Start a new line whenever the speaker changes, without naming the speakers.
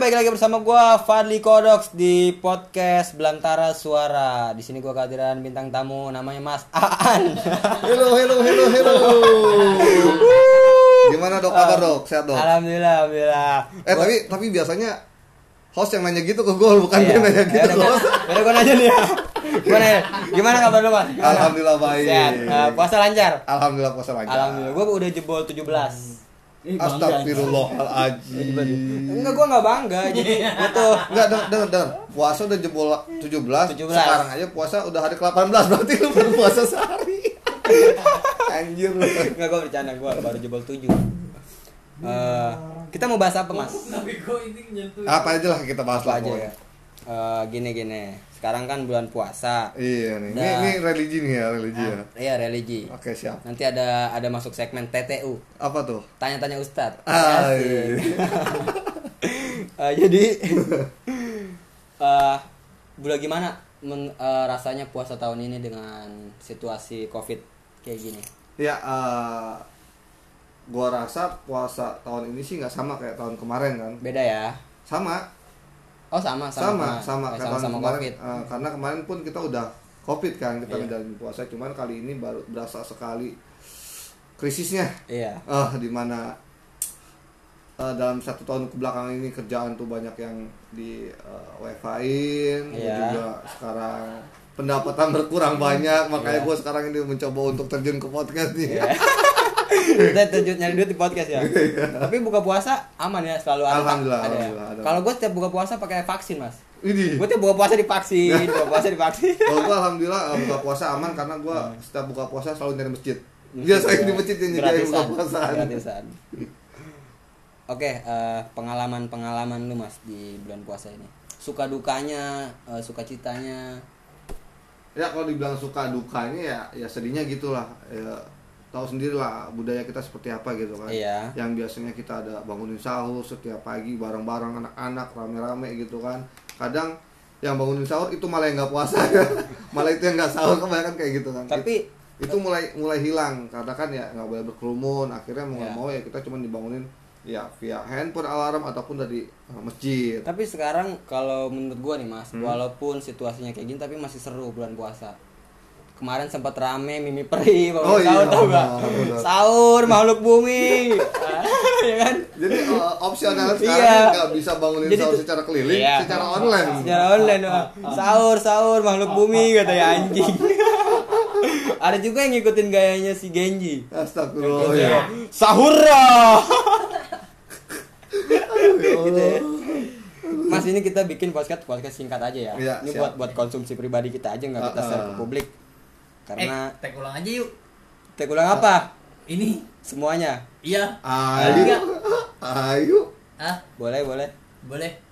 balik lagi bersama gua Fadli Kodox di podcast Belantara Suara. Di sini gua kehadiran bintang tamu namanya Mas Aan.
Hello, hello, hello, hello. Gimana dok kabar dok? Sehat dok?
alhamdulillah, alhamdulillah.
Eh tapi tapi biasanya host yang nanya gitu ke gue bukan
Iya.
gue nanya gitu
Ayo,
ke host.
Udah gua nanya nih ya. Gua nanya, gimana kabar lu, Mas? Gimana?
Alhamdulillah baik.
Sehat. Eh, puasa lancar.
Alhamdulillah puasa lancar.
Alhamdulillah. Gua udah jebol 17.
Eh, bangga,
Astagfirullahaladzim.
Enggak, gua enggak bangga. Jadi gua tuh
Enggak, denger, denger, denger. Puasa udah jebol 17,
17.
Sekarang aja puasa udah hari ke-18 Berarti lu baru puasa sehari Anjir lu
Enggak gua bercanda gua baru jebol 7. Eh, kita mau bahas apa, Mas?
Tapi kok ini nyentuh.
Apa aja lah kita bahas
Apa
lah
aja
pokoknya.
ya? Eh, gini gini. Sekarang kan bulan puasa.
Iya nih, ini,
Nah.
ini religi nih ya, religi ya
Iya, religi.
Oke siap
Nanti ada ada masuk segmen TTU.
Apa tuh?
Tanya-tanya Ustadz.
Ah,
Asik.
iya.
Eh, jadi eh Bula gimana men- eh, rasanya puasa tahun ini dengan situasi Covid kayak gini?
Ya, eh gua rasa puasa tahun ini sih nggak sama kayak tahun kemarin kan.
Beda ya?
Sama,
Oh, sama sama
sama, sama,
Eh,
kayak tahun
sama
kemarin.
Covid.
Eh, karena kemarin pun kita udah covid kan kita
Iya.
ngejalanin puasa, cuman kali ini baru berasa sekali krisisnya.
Iya.
Ah, di dimana dalam satu tahun kebelakang ini kerjaan tuh banyak yang di eh, WFA-in, gua
Iya.
juga sekarang pendapatan berkurang banyak, makanya gua sekarang ini mencoba untuk terjun ke podcast nih.
Iya. Kita terjun nyari duit di podcast ya. Tapi buka puasa aman ya selalu ada.
Alhamdulillah,
ada ya?
alhamdulillah, ada.
Kalau gue setiap buka puasa pakai vaksin, Mas.
Ini.
Gue tiap buka puasa divaksin, buka puasa divaksin.
Kalau gua alhamdulillah eh, buka puasa aman karena gua setiap buka puasa selalu nyari masjid. Biasanya di masjid yang nyediain buka
Hmm. Gratisan,
puasaan.
gratisan. Oke, eh, pengalaman-pengalaman lu Mas di bulan puasa ini. Suka dukanya, eh, suka citanya.
Ya kalau dibilang suka dukanya ya ya sedihnya gitulah. Ya, tahu sendirilah budaya kita seperti apa gitu kan.
Iya.
Yang biasanya kita ada bangunin sahur setiap pagi bareng-bareng anak-anak rame-rame gitu kan. Kadang yang bangunin sahur itu malah yang nggak puasa malah itu yang nggak sahur kebanyakan kayak gitu kan
Tapi
itu mulai mulai hilang karena kan ya nggak boleh berkerumun akhirnya mau nggak
Ya.
mau ya kita cuma dibangunin ya via handphone alarm ataupun dari uh, masjid
tapi sekarang kalau menurut gua nih Mas,
Hmm.
walaupun situasinya kayak gini tapi masih seru bulan puasa. Kemarin sempat rame Mimi Peri bangun
Oh iya,
sahur tau
benar,
nggak?
benar.
Sahur makhluk bumi. ya kan?
jadi uh, opsional
Iya.
sekarang nggak bisa bangunin
Jadi
sahur
tuh-
secara keliling
Iya.
secara online
Secara online Pak. Sahur, sahur, ya. makhluk bumi kata ya anjing. Ada juga yang ngikutin gayanya si Genji.
astagfirullah ya
Sahura.
Aduh, ya Allah.
Mas ini kita bikin podcast podcast singkat aja ya.
Iya,
ini
siap.
buat buat konsumsi pribadi kita aja nggak kita
Ah,
share
ah.
ke publik. Karena
eh, tag ulang aja yuk.
kita ulang apa?
Ini
Semuanya.
iya.
ayo ayo
Ah,
Boleh, boleh.
boleh.